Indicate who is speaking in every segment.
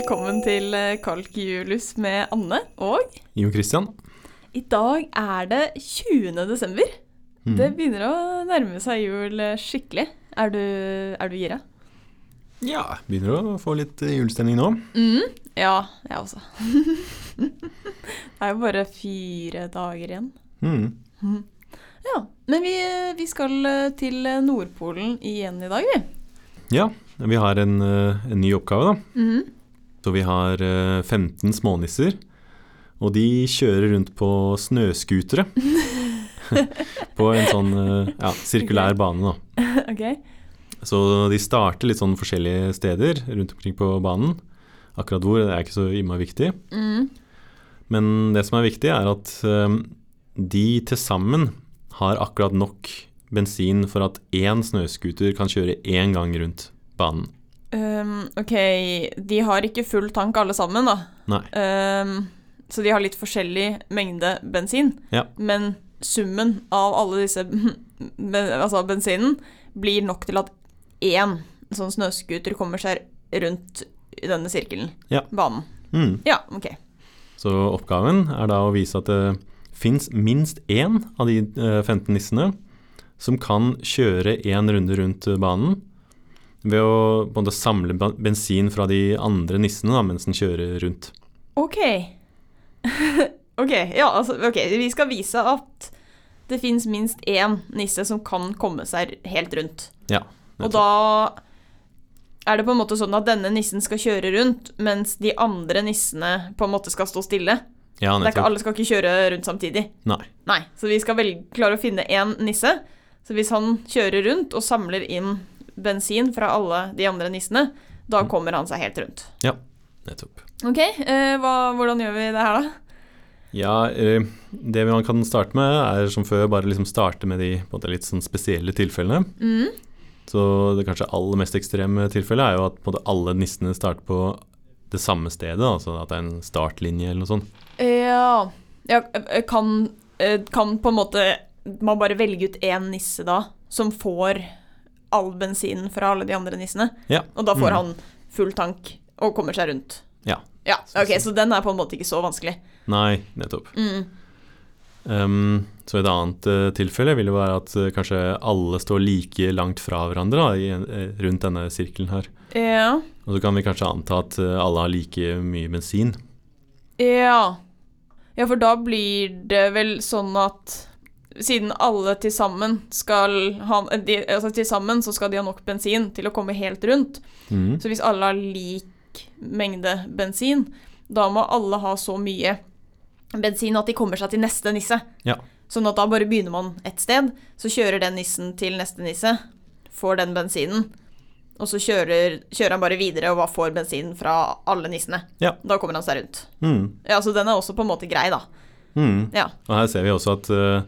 Speaker 1: til Kalkjulus med Anne og
Speaker 2: Jo Christian.
Speaker 1: I dag er det 20. desember.
Speaker 2: Mm.
Speaker 1: Det begynner å nærme seg jul eh, skikkelig. Er du, er du gira?
Speaker 2: Ja, begynner å få litt eh, julestemning nå.
Speaker 1: Mm. Ja, jeg også. det er jo bare fire dager igjen.
Speaker 2: Mm.
Speaker 1: Ja, men vi, eh, vi skal til eh, Nordpolen igjen i dag, vi.
Speaker 2: Ja, vi har en, eh, en ny oppgave, da.
Speaker 1: Mhm.
Speaker 2: Så vi har eh, 15 smånisser. Og de kjører rundt på snøskutere. på en sånn eh, ja, sirkulær bane, da.
Speaker 1: ok.
Speaker 2: Så de starter litt sånn forskjellige steder rundt omkring på banen. Akkurat hvor, det er ikke så innmari viktig.
Speaker 1: Mm.
Speaker 2: Men det som er viktig, er at eh, de til sammen har akkurat nok bensin for at én snøscooter kan kjøre én gang rundt banen.
Speaker 1: Um, ok, de har ikke full tank alle sammen, da.
Speaker 2: Nei.
Speaker 1: Ehm, så de har litt forskjellig mengde bensin.
Speaker 2: Ja.
Speaker 1: Men summen av alle disse ben, altså bensinen blir nok til at én sånn snøscooter kommer seg rundt i denne sirkelen.
Speaker 2: Ja.
Speaker 1: Banen.
Speaker 2: Mm.
Speaker 1: Ja, ok.
Speaker 2: Så oppgaven er da å vise at det fins minst én av de eh, 15 nissene som kan kjøre én runde rundt eh, banen ved å på en måte samle ba- bensin fra de andre nissene da, mens den kjører rundt.
Speaker 1: Ok. ok, ja, altså, ok. Vi skal vise at det fins minst én nisse som kan komme seg helt rundt.
Speaker 2: Ja.
Speaker 1: Og da er det på en måte sånn at denne nissen skal kjøre rundt, mens de andre nissene på en måte skal stå stille.
Speaker 2: ja,
Speaker 1: Det er ikke,
Speaker 2: nettopp.
Speaker 1: alle skal ikke kjøre rundt samtidig.
Speaker 2: Nei.
Speaker 1: Nei, Så vi skal vel klare å finne én nisse. Så hvis han kjører rundt og samler inn bensin fra alle de andre nissene, da kommer han seg helt rundt.
Speaker 2: Ja, nettopp.
Speaker 1: Ok, eh, hva, hvordan gjør vi det her, da?
Speaker 2: Ja, eh, det man kan starte med er som før bare liksom starte med de på en måte, litt sånn spesielle tilfellene.
Speaker 1: Mm.
Speaker 2: Så det kanskje aller mest ekstreme tilfellet er jo at på en måte, alle nissene starter på det samme stedet, altså at det er en startlinje eller noe sånt.
Speaker 1: Ja, ja eh, kan, eh, kan på en måte man bare velge ut én nisse da, som får all bensinen fra alle de andre nissene?
Speaker 2: Ja.
Speaker 1: Og da får
Speaker 2: Mm.
Speaker 1: han full tank og kommer seg rundt.
Speaker 2: Ja.
Speaker 1: Ja, ok, Så den er på en måte ikke så vanskelig.
Speaker 2: Nei, nettopp.
Speaker 1: Mm.
Speaker 2: Um, så et annet eh, tilfelle vil jo være at eh, kanskje alle står like langt fra hverandre da, i, en- eh, rundt denne sirkelen her.
Speaker 1: Ja.
Speaker 2: Og så kan vi kanskje anta at eh, alle har like mye bensin.
Speaker 1: ja. Ja, for da blir det vel sånn at siden alle til sammen skal ha de, Altså til sammen så skal de ha nok bensin til å komme helt rundt.
Speaker 2: Mm.
Speaker 1: Så hvis alle har lik mengde bensin, da må alle ha så mye bensin at de kommer seg til neste nisse.
Speaker 2: Ja.
Speaker 1: Sånn at da bare begynner man et sted, så kjører den nissen til neste nisse, får den bensinen, og så kjører, kjører han bare videre og hva får bensinen fra alle nissene.
Speaker 2: Ja.
Speaker 1: Da kommer han seg rundt.
Speaker 2: Mm.
Speaker 1: Ja, så den er også på en måte grei, da.
Speaker 2: Mm.
Speaker 1: Ja.
Speaker 2: Og her ser vi også at eh,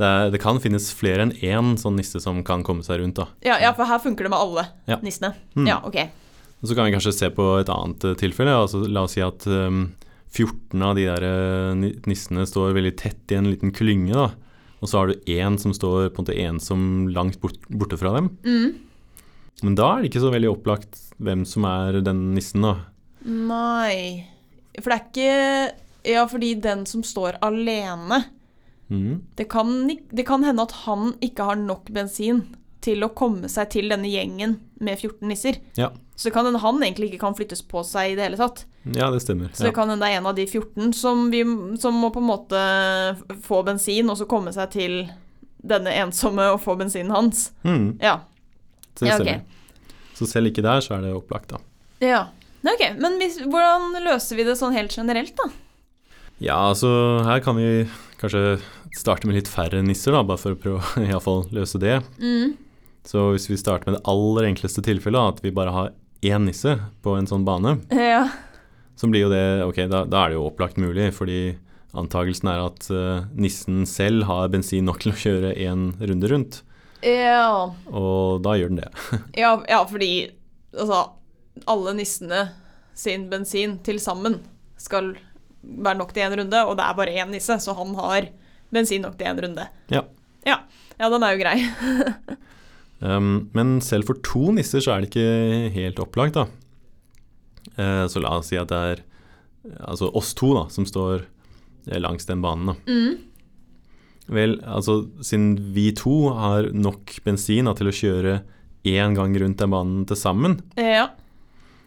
Speaker 2: det, er, det kan finnes flere enn én sånn nisse som kan komme seg rundt. Da.
Speaker 1: Ja, ja, for her funker det med alle
Speaker 2: Ja.
Speaker 1: nissene.
Speaker 2: Mm.
Speaker 1: Ja, ok.
Speaker 2: Og så kan vi kanskje se på et annet eh, tilfelle. Altså, la oss si at eh, 14 av de der eh, ni- nissene står veldig tett i en liten klynge. Da. Og så har du én som står på en måte ensom langt bort, borte fra dem.
Speaker 1: Mm.
Speaker 2: Men da er det ikke så veldig opplagt hvem som er den nissen, da.
Speaker 1: Nei For det er ikke Ja, fordi den som står alene
Speaker 2: Mm.
Speaker 1: det kan, ik- det kan hende at han ikke har nok bensin til å komme seg til denne gjengen med 14 nisser.
Speaker 2: Ja.
Speaker 1: Så det kan hende han egentlig ikke kan flyttes på seg i det hele tatt.
Speaker 2: ja, det stemmer.
Speaker 1: Så det
Speaker 2: Ja.
Speaker 1: kan hende det er en av de 14 som, vi, som må på en måte f- få bensin, og så komme seg til denne ensomme og få bensinen hans.
Speaker 2: Mm,
Speaker 1: Ja.
Speaker 2: så det
Speaker 1: Ja, ok.
Speaker 2: stemmer. Så selv ikke der så er det opplagt, da.
Speaker 1: ja. Nei, Ok, men hvis, hvordan løser vi det sånn helt generelt, da?
Speaker 2: Ja, altså her kan vi kanskje starte med litt færre nisser, da, bare for å prøve å i alle fall løse det.
Speaker 1: Mm.
Speaker 2: Så hvis vi starter med det aller enkleste tilfellet, da, at vi bare har én nisse på en sånn bane,
Speaker 1: Ja.
Speaker 2: så blir jo det ok, da, da er det jo opplagt mulig, fordi antagelsen er at eh, nissen selv har bensin nok til å kjøre én runde rundt,
Speaker 1: ja.
Speaker 2: og da gjør den det.
Speaker 1: Ja, ja fordi altså, alle nissene sin bensin til sammen skal være nok til én runde, og det er bare én nisse, så han har bensin nok til én runde.
Speaker 2: Ja.
Speaker 1: ja. Ja, den er jo grei.
Speaker 2: Um, men selv for to nisser så er det ikke helt opplagt, da. Eh, så la oss si at det er altså oss to da, som står eh, langs den banen. Da.
Speaker 1: Mm.
Speaker 2: Vel, altså siden vi to har nok bensin da, til å kjøre én gang rundt den banen til sammen,
Speaker 1: Ja.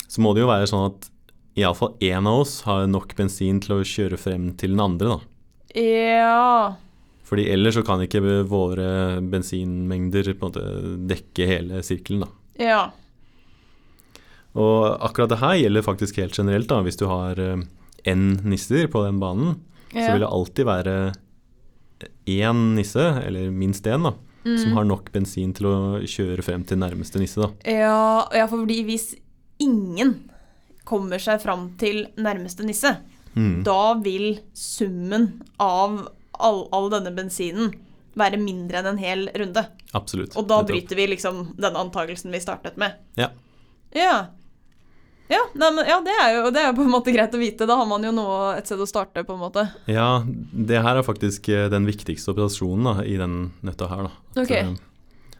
Speaker 2: så må det jo være sånn at iallfall én av oss har nok bensin til å kjøre frem til den andre. da.
Speaker 1: Ja.
Speaker 2: Fordi ellers så kan ikke våre bensinmengder på en måte dekke hele sirkelen. da.
Speaker 1: Ja.
Speaker 2: Og akkurat det her gjelder faktisk helt generelt. da, Hvis du har eh, n nisser på den banen, så vil
Speaker 1: ja.
Speaker 2: det alltid være én nisse, eller minst én, da,
Speaker 1: Mm.
Speaker 2: som har nok bensin til å kjøre frem til nærmeste nisse. da.
Speaker 1: Ja, ja, fordi hvis ingen kommer seg fram til nærmeste nisse,
Speaker 2: Mm.
Speaker 1: da vil summen av all, all denne bensinen være mindre enn en hel runde.
Speaker 2: Absolutt.
Speaker 1: Og da
Speaker 2: Nettopp.
Speaker 1: bryter vi liksom den antakelsen vi startet med.
Speaker 2: Ja.
Speaker 1: Ja. Ja, nei, men, ja det, er jo, det er jo på en måte greit å vite. Da har man jo noe, et sted å starte, på en måte.
Speaker 2: Ja, det her er faktisk eh, den viktigste operasjonen da, i den nøtta her. Da. At,
Speaker 1: Ok.
Speaker 2: eh,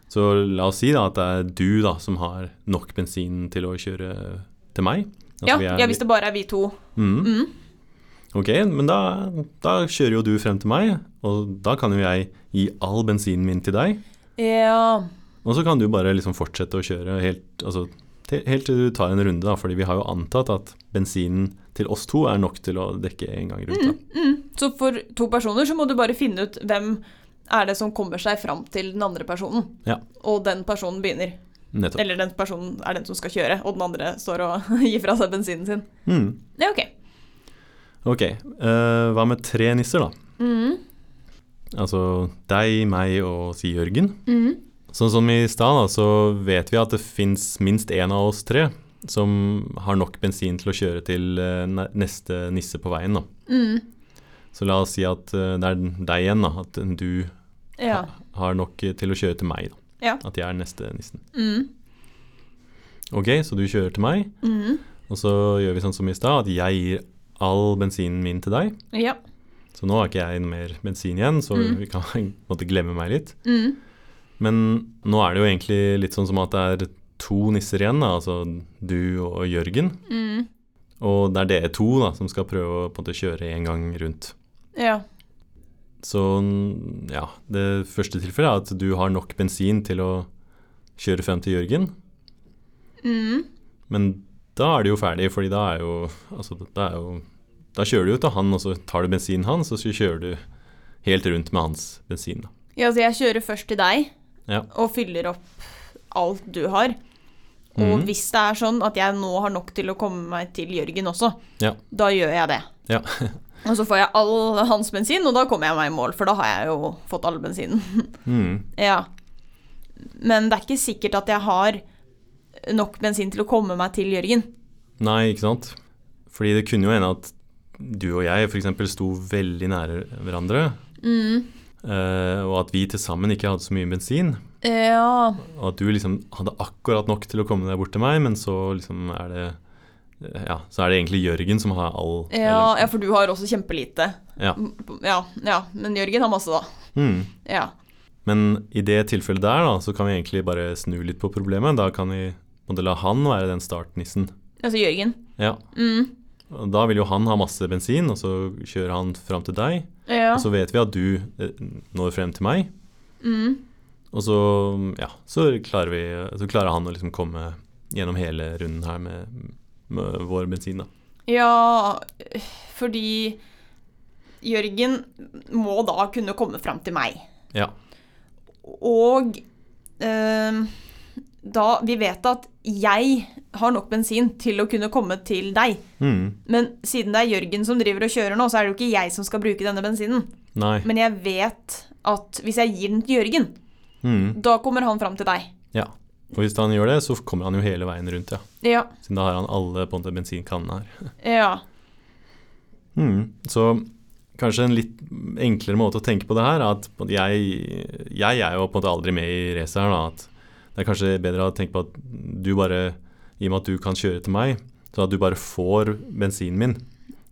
Speaker 2: Så la oss si da, at det er du da, som har nok bensin til å kjøre til meg. At
Speaker 1: Ja,
Speaker 2: vi er-
Speaker 1: ja, hvis det bare er vi to.
Speaker 2: Mm.
Speaker 1: Mm.
Speaker 2: Ok, men da, da kjører jo du frem til meg, og da kan jo jeg gi all bensinen min til deg.
Speaker 1: Ja.
Speaker 2: Og så kan du bare liksom fortsette å kjøre helt, altså, til, helt til du tar en runde, da, fordi vi har jo antatt at bensinen til oss to er nok til å dekke en gang rundt. Da.
Speaker 1: Mm. Så for to personer så må du bare finne ut hvem er det som kommer seg fram til den andre personen.
Speaker 2: Ja.
Speaker 1: Og den personen begynner.
Speaker 2: Nettopp.
Speaker 1: Eller den personen er den som skal kjøre, og den andre står og gir fra seg bensinen sin.
Speaker 2: Mm.
Speaker 1: Ja, ok.
Speaker 2: Ok, eh, hva med tre nisser, da?
Speaker 1: Mm.
Speaker 2: Altså deg, meg og si Jørgen.
Speaker 1: Mm.
Speaker 2: Sånn som i stad, da, så vet vi at det fins minst én av oss tre som har nok bensin til å kjøre til eh, ne- neste nisse på veien. da.
Speaker 1: Mm.
Speaker 2: Så la oss si at eh, det er deg igjen, da, at du
Speaker 1: Ja.
Speaker 2: har nok til å kjøre til meg. da.
Speaker 1: Ja.
Speaker 2: At jeg er neste nissen.
Speaker 1: Mm.
Speaker 2: Ok, så du kjører til meg,
Speaker 1: Mm.
Speaker 2: og så gjør vi sånn som i stad, at jeg gir all bensinen min til deg.
Speaker 1: Ja.
Speaker 2: Så nå har ikke jeg noe mer bensin igjen, så
Speaker 1: Mm.
Speaker 2: vi kan på en måte glemme meg litt.
Speaker 1: Mm.
Speaker 2: Men nå er det jo egentlig litt sånn som at det er to nisser igjen, da, altså du og Jørgen.
Speaker 1: Mm.
Speaker 2: Og det er dere to da, som skal prøve å på en måte kjøre en gang rundt.
Speaker 1: Ja.
Speaker 2: Så mm, ja, det første tilfellet er at du har nok bensin til å kjøre frem til Jørgen.
Speaker 1: Mm.
Speaker 2: Men da er det jo ferdig, fordi da er jo Altså, da er jo Da kjører du jo til han, og så tar du bensinen hans, og så kjører du helt rundt med hans bensin, da.
Speaker 1: ja, så jeg kjører først til deg
Speaker 2: Ja.
Speaker 1: og fyller opp alt du har. Og
Speaker 2: Mhm.
Speaker 1: hvis det er sånn at jeg nå har nok til å komme meg til Jørgen også,
Speaker 2: Ja.
Speaker 1: da gjør jeg det.
Speaker 2: Ja.
Speaker 1: og så får jeg all hans bensin, og da kommer jeg meg i mål, for da har jeg jo fått all bensinen.
Speaker 2: Mm.
Speaker 1: ja. Men det er ikke sikkert at jeg har nok bensin til å komme meg til Jørgen.
Speaker 2: Nei, ikke sant? Fordi det kunne jo hende at du og jeg f.eks. sto veldig nære hverandre,
Speaker 1: Mm.
Speaker 2: eh, og at vi til sammen ikke hadde så mye bensin.
Speaker 1: Ja.
Speaker 2: Og at du liksom hadde akkurat nok til å komme deg bort til meg, men så liksom er det eh, ja, så er det egentlig Jørgen som har all
Speaker 1: Ja,
Speaker 2: sånn.
Speaker 1: ja, for du har også kjempelite.
Speaker 2: Ja.
Speaker 1: ja. Ja, men Jørgen har masse, da.
Speaker 2: Mm.
Speaker 1: Ja.
Speaker 2: Men i det tilfellet der, da, så kan vi egentlig bare snu litt på problemet. Da kan vi både la han være den startnissen.
Speaker 1: Altså Jørgen.
Speaker 2: Ja.
Speaker 1: Mm.
Speaker 2: Og da vil jo han ha masse bensin, og så kjører han fram til deg.
Speaker 1: Ja.
Speaker 2: Og så vet vi at du eh, når frem til meg.
Speaker 1: Mm.
Speaker 2: Og så, ja, så, klarer, vi, så klarer han å liksom komme gjennom hele runden her med, med vår bensin. Da.
Speaker 1: Ja, fordi Jørgen må da kunne komme fram til meg.
Speaker 2: Ja.
Speaker 1: Og eh, da Vi vet at jeg har nok bensin til å kunne komme til deg.
Speaker 2: Mm.
Speaker 1: Men siden det er Jørgen som driver og kjører nå, så er det jo ikke jeg som skal bruke denne bensinen.
Speaker 2: Nei.
Speaker 1: Men jeg vet at hvis jeg gir den til Jørgen,
Speaker 2: Mm.
Speaker 1: da kommer han fram til deg.
Speaker 2: Ja. Og hvis han gjør det, så kommer han jo hele veien rundt, ja.
Speaker 1: Ja.
Speaker 2: Siden da har han alle på en måte bensinkannene her.
Speaker 1: Ja.
Speaker 2: Mm. Så kanskje en litt enklere måte å tenke på det her, er at på en måte jeg, jeg er jo på en måte aldri med i racet her, da. At det er kanskje bedre å tenke på at du bare, i og med at du kan kjøre til meg, så at du bare får bensinen min.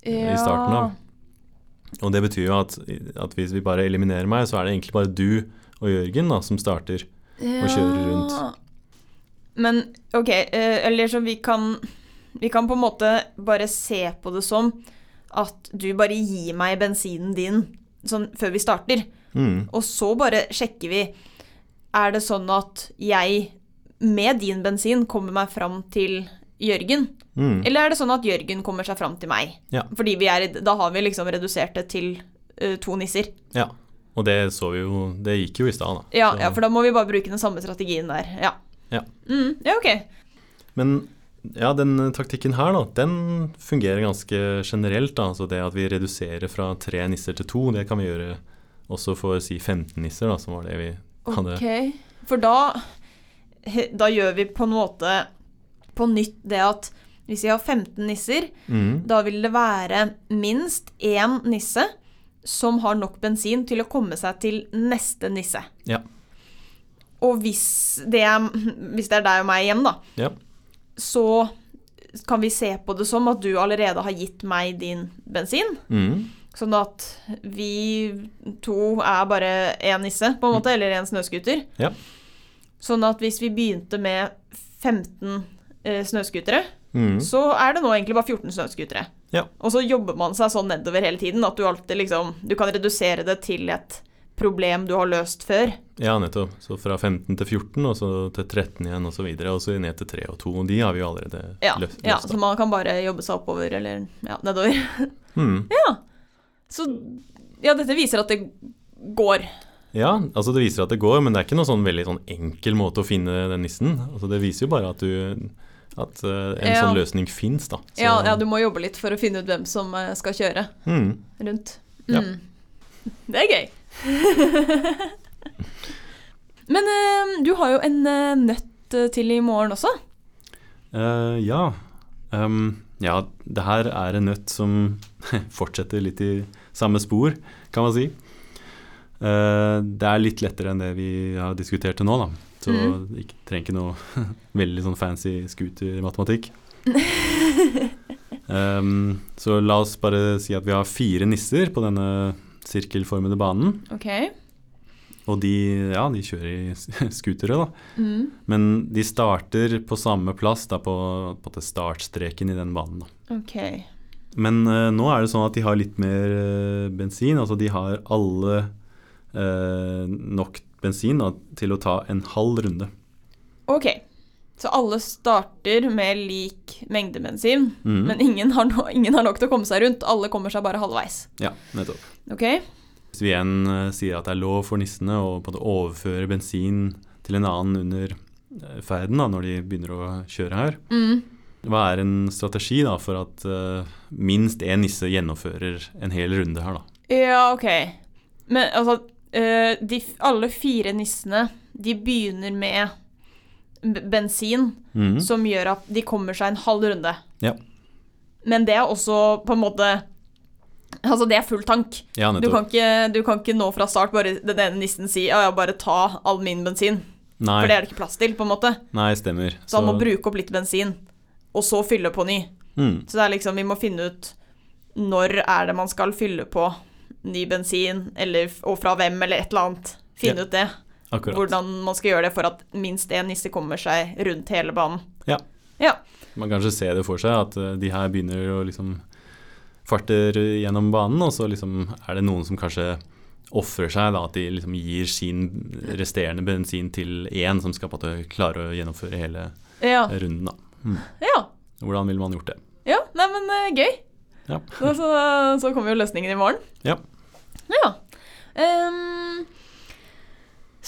Speaker 1: ja.
Speaker 2: i starten av. Og det betyr jo at, at hvis vi bare eliminerer meg, så er det egentlig bare du og Jørgen da, som starter.
Speaker 1: ja.
Speaker 2: kjører rundt.
Speaker 1: Men ok, eh, eller så vi kan Vi kan på en måte bare se på det som at du bare gir meg bensinen din sånn før vi starter,
Speaker 2: Mm.
Speaker 1: og så bare sjekker vi. Er det sånn at jeg med din bensin kommer meg fram til Jørgen?
Speaker 2: Mm.
Speaker 1: Eller er det sånn at Jørgen kommer seg fram til meg?
Speaker 2: Ja.
Speaker 1: Fordi vi er, i- da har vi liksom redusert det til eh, to nisser.
Speaker 2: ja. Og det så vi jo Det gikk jo i stad, da.
Speaker 1: Ja,
Speaker 2: Så-
Speaker 1: ja, for da må vi bare bruke den samme strategien der. Ja.
Speaker 2: Ja.
Speaker 1: Mm, ja, ok.
Speaker 2: Men ja, den taktikken her, da, den fungerer ganske generelt. da, altså Det at vi reduserer fra tre nisser til to, det kan vi gjøre også for si 15 nisser, da, som var det vi hadde.
Speaker 1: Ok, for da he- Da gjør vi på en måte på nytt det at hvis vi har 15 nisser,
Speaker 2: Mm,
Speaker 1: da vil det være minst én nisse som har nok bensin til å komme seg til neste nisse.
Speaker 2: ja,
Speaker 1: Og hvis det er, hvis det er deg og meg igjen, da,
Speaker 2: ja,
Speaker 1: så kan vi se på det som at du allerede har gitt meg din bensin.
Speaker 2: mm,
Speaker 1: Sånn at vi to er bare én nisse, på en måte, eller én snøskuter.
Speaker 2: Ja.
Speaker 1: Sånn at hvis vi begynte med 15 eh, snøskutere,
Speaker 2: mm,
Speaker 1: så er det nå egentlig bare 14 snøskutere.
Speaker 2: Ja.
Speaker 1: Og så jobber man seg sånn nedover hele tiden at du alltid liksom Du kan redusere det til et problem du har løst før.
Speaker 2: ja, nettopp. Så fra 15 til 14, og så til 13 igjen, og så videre. Og så ned til 3 og 2. Og de har vi jo allerede
Speaker 1: Ja,
Speaker 2: løst.
Speaker 1: ja
Speaker 2: løst,
Speaker 1: Så
Speaker 2: da.
Speaker 1: man kan bare jobbe seg oppover eller ja, nedover.
Speaker 2: Mm.
Speaker 1: Så ja, dette viser at det går.
Speaker 2: ja, altså det viser at det går, men det er ikke noen sånn veldig sånn enkel måte å finne den nissen. Altså Det viser jo bare at du at eh, en
Speaker 1: Ja.
Speaker 2: sånn løsning fins, da. Så-
Speaker 1: Ja, ja, du må jobbe litt for å finne ut hvem som eh, skal kjøre.
Speaker 2: mm.
Speaker 1: rundt.
Speaker 2: Ja.
Speaker 1: Mm. Det er gøy. Men eh, du har jo en eh, nøtt eh, til i morgen også.
Speaker 2: Eh, ja. Ehm, ja, det her er en nøtt som fortsetter litt i samme spor, kan man si. Eh, det er litt lettere enn det vi har diskutert til nå, da. Så
Speaker 1: Mhm.
Speaker 2: ikke, trenger ikke noe veldig sånn fancy scooter-matematikk. Ehm, så la oss bare si at vi har fire nisser på denne sirkelformede banen.
Speaker 1: Ok.
Speaker 2: Og de, ja, de kjører i scootere, da.
Speaker 1: Mm.
Speaker 2: Men de starter på samme plass, da, på, på det startstreken i den banen. Da.
Speaker 1: Ok.
Speaker 2: Men eh, nå er det sånn at de har litt mer eh, bensin. Altså de har alle eh, nok bensin da, til å ta en halv runde.
Speaker 1: Ok. Så alle starter med lik mengde bensin,
Speaker 2: Mhm.
Speaker 1: men ingen har, no ingen har nok til å komme seg rundt. Alle kommer seg bare halvveis.
Speaker 2: Ja, nettopp.
Speaker 1: Ok?
Speaker 2: Hvis vi igjen eh, sier at det er lov for nissene å på en måte overføre bensin til en annen under eh, ferden da, når de begynner å kjøre her,
Speaker 1: Mm.
Speaker 2: hva er en strategi da, for at eh, minst én nisse gjennomfører en hel runde her? da?
Speaker 1: Ja, ok. Men altså, eh, de, f- alle fire nissene, de begynner med b- bensin.
Speaker 2: Mhm.
Speaker 1: som gjør at de kommer seg en halv runde.
Speaker 2: Ja.
Speaker 1: Men det er også på en måte Altså, det er full tank.
Speaker 2: ja,
Speaker 1: Du kan, ikke, du kan ikke nå fra start bare den ene nissen si ja, ja, bare ta all min bensin.
Speaker 2: Nei.
Speaker 1: For det er det ikke plass til, på en måte.
Speaker 2: Nei, stemmer.
Speaker 1: Så, han må bruke opp litt bensin, og så fylle på ny.
Speaker 2: Mm,
Speaker 1: Så det er liksom, vi må finne ut når er det man skal fylle på ny bensin, eller, f- og fra hvem, eller et eller annet. Finne
Speaker 2: Ja,
Speaker 1: ut det.
Speaker 2: akkurat.
Speaker 1: Hvordan man skal gjøre det for at minst én nisse kommer seg rundt hele banen.
Speaker 2: Ja.
Speaker 1: Ja.
Speaker 2: Man kanskje ser det for seg at eh, de her begynner å liksom farter gjennom banen, og så liksom er det noen som kanskje ofrer seg, da, at de liksom gir sin resterende bensin til én som skal på en måte klare å gjennomføre hele
Speaker 1: ja.
Speaker 2: runden. Da.
Speaker 1: Ja.
Speaker 2: Hvordan ville man gjort det?
Speaker 1: ja nei, men eh, gøy.
Speaker 2: Ja.
Speaker 1: Så, så, så kommer jo løsningen i morgen.
Speaker 2: Ja.
Speaker 1: Ja. Ehm,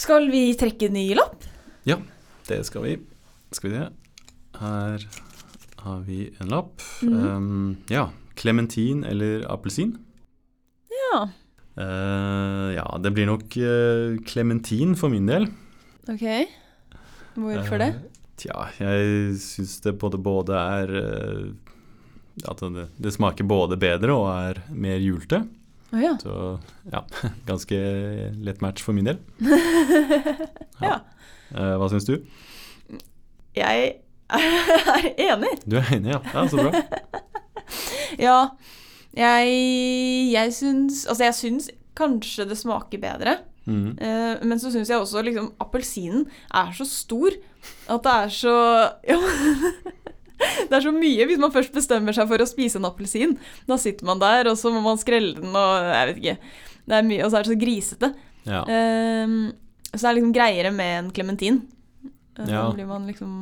Speaker 1: skal vi trekke ny lapp?
Speaker 2: Det skal vi. Skal vi se. Her har vi en lapp.
Speaker 1: Mhm.
Speaker 2: Um, ja. Klementin eller appelsin?
Speaker 1: Ja.
Speaker 2: Eh, ja, det blir nok eh, klementin for min del.
Speaker 1: Ok. Hvorfor det?
Speaker 2: Eh, Tja, jeg syns det både, både er eh, At det, det smaker både bedre og er mer julete.
Speaker 1: Å ja.
Speaker 2: Så ja, ganske lett match for min del.
Speaker 1: Ja.
Speaker 2: Eh, hva syns du?
Speaker 1: Jeg er enig.
Speaker 2: Du er enig, ja? ja så bra.
Speaker 1: Ja. Jeg, jeg syns Altså, jeg syns kanskje det smaker bedre.
Speaker 2: Mm.
Speaker 1: Eh, men så syns jeg også liksom appelsinen er så stor at det er så ja, Det er så mye hvis man først bestemmer seg for å spise en appelsin. Da sitter man der, og så må man skrelle den, og jeg vet ikke. Det er mye, og så er det så grisete.
Speaker 2: Ja.
Speaker 1: Ehm, så det er liksom greiere med en klementin. Eh, Da
Speaker 2: Ja.
Speaker 1: blir man liksom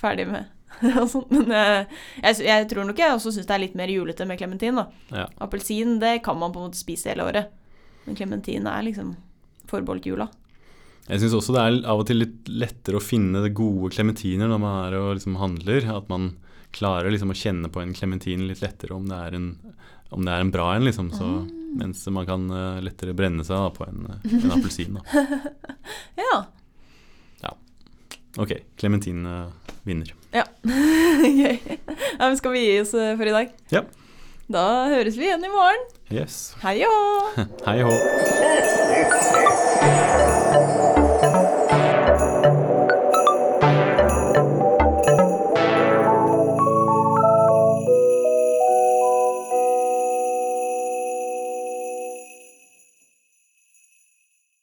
Speaker 1: ferdig med og sånt. Men eh, jeg, sy- jeg tror nok jeg også syns det er litt mer julete med klementin, da.
Speaker 2: Ja.
Speaker 1: Appelsin, det kan man på en måte spise hele året. Men klementin er liksom forbeholdt jula.
Speaker 2: Jeg syns også det er av og til litt lettere å finne det gode klementiner når man er og liksom handler. At man klarer liksom å kjenne på en klementin litt lettere om det er en, om det er en bra en, liksom. Så,
Speaker 1: Ah.
Speaker 2: mens man kan eh, lettere brenne seg da, på en, eh, en appelsin. da.
Speaker 1: Ja.
Speaker 2: Ok, klementin eh, vinner.
Speaker 1: Gøy. Ja, men skal vi gi oss eh, for i dag?
Speaker 2: Ja.
Speaker 1: Da høres vi igjen i morgen.
Speaker 2: Yes.
Speaker 1: Hei og hå!
Speaker 2: Hei hå.
Speaker 3: This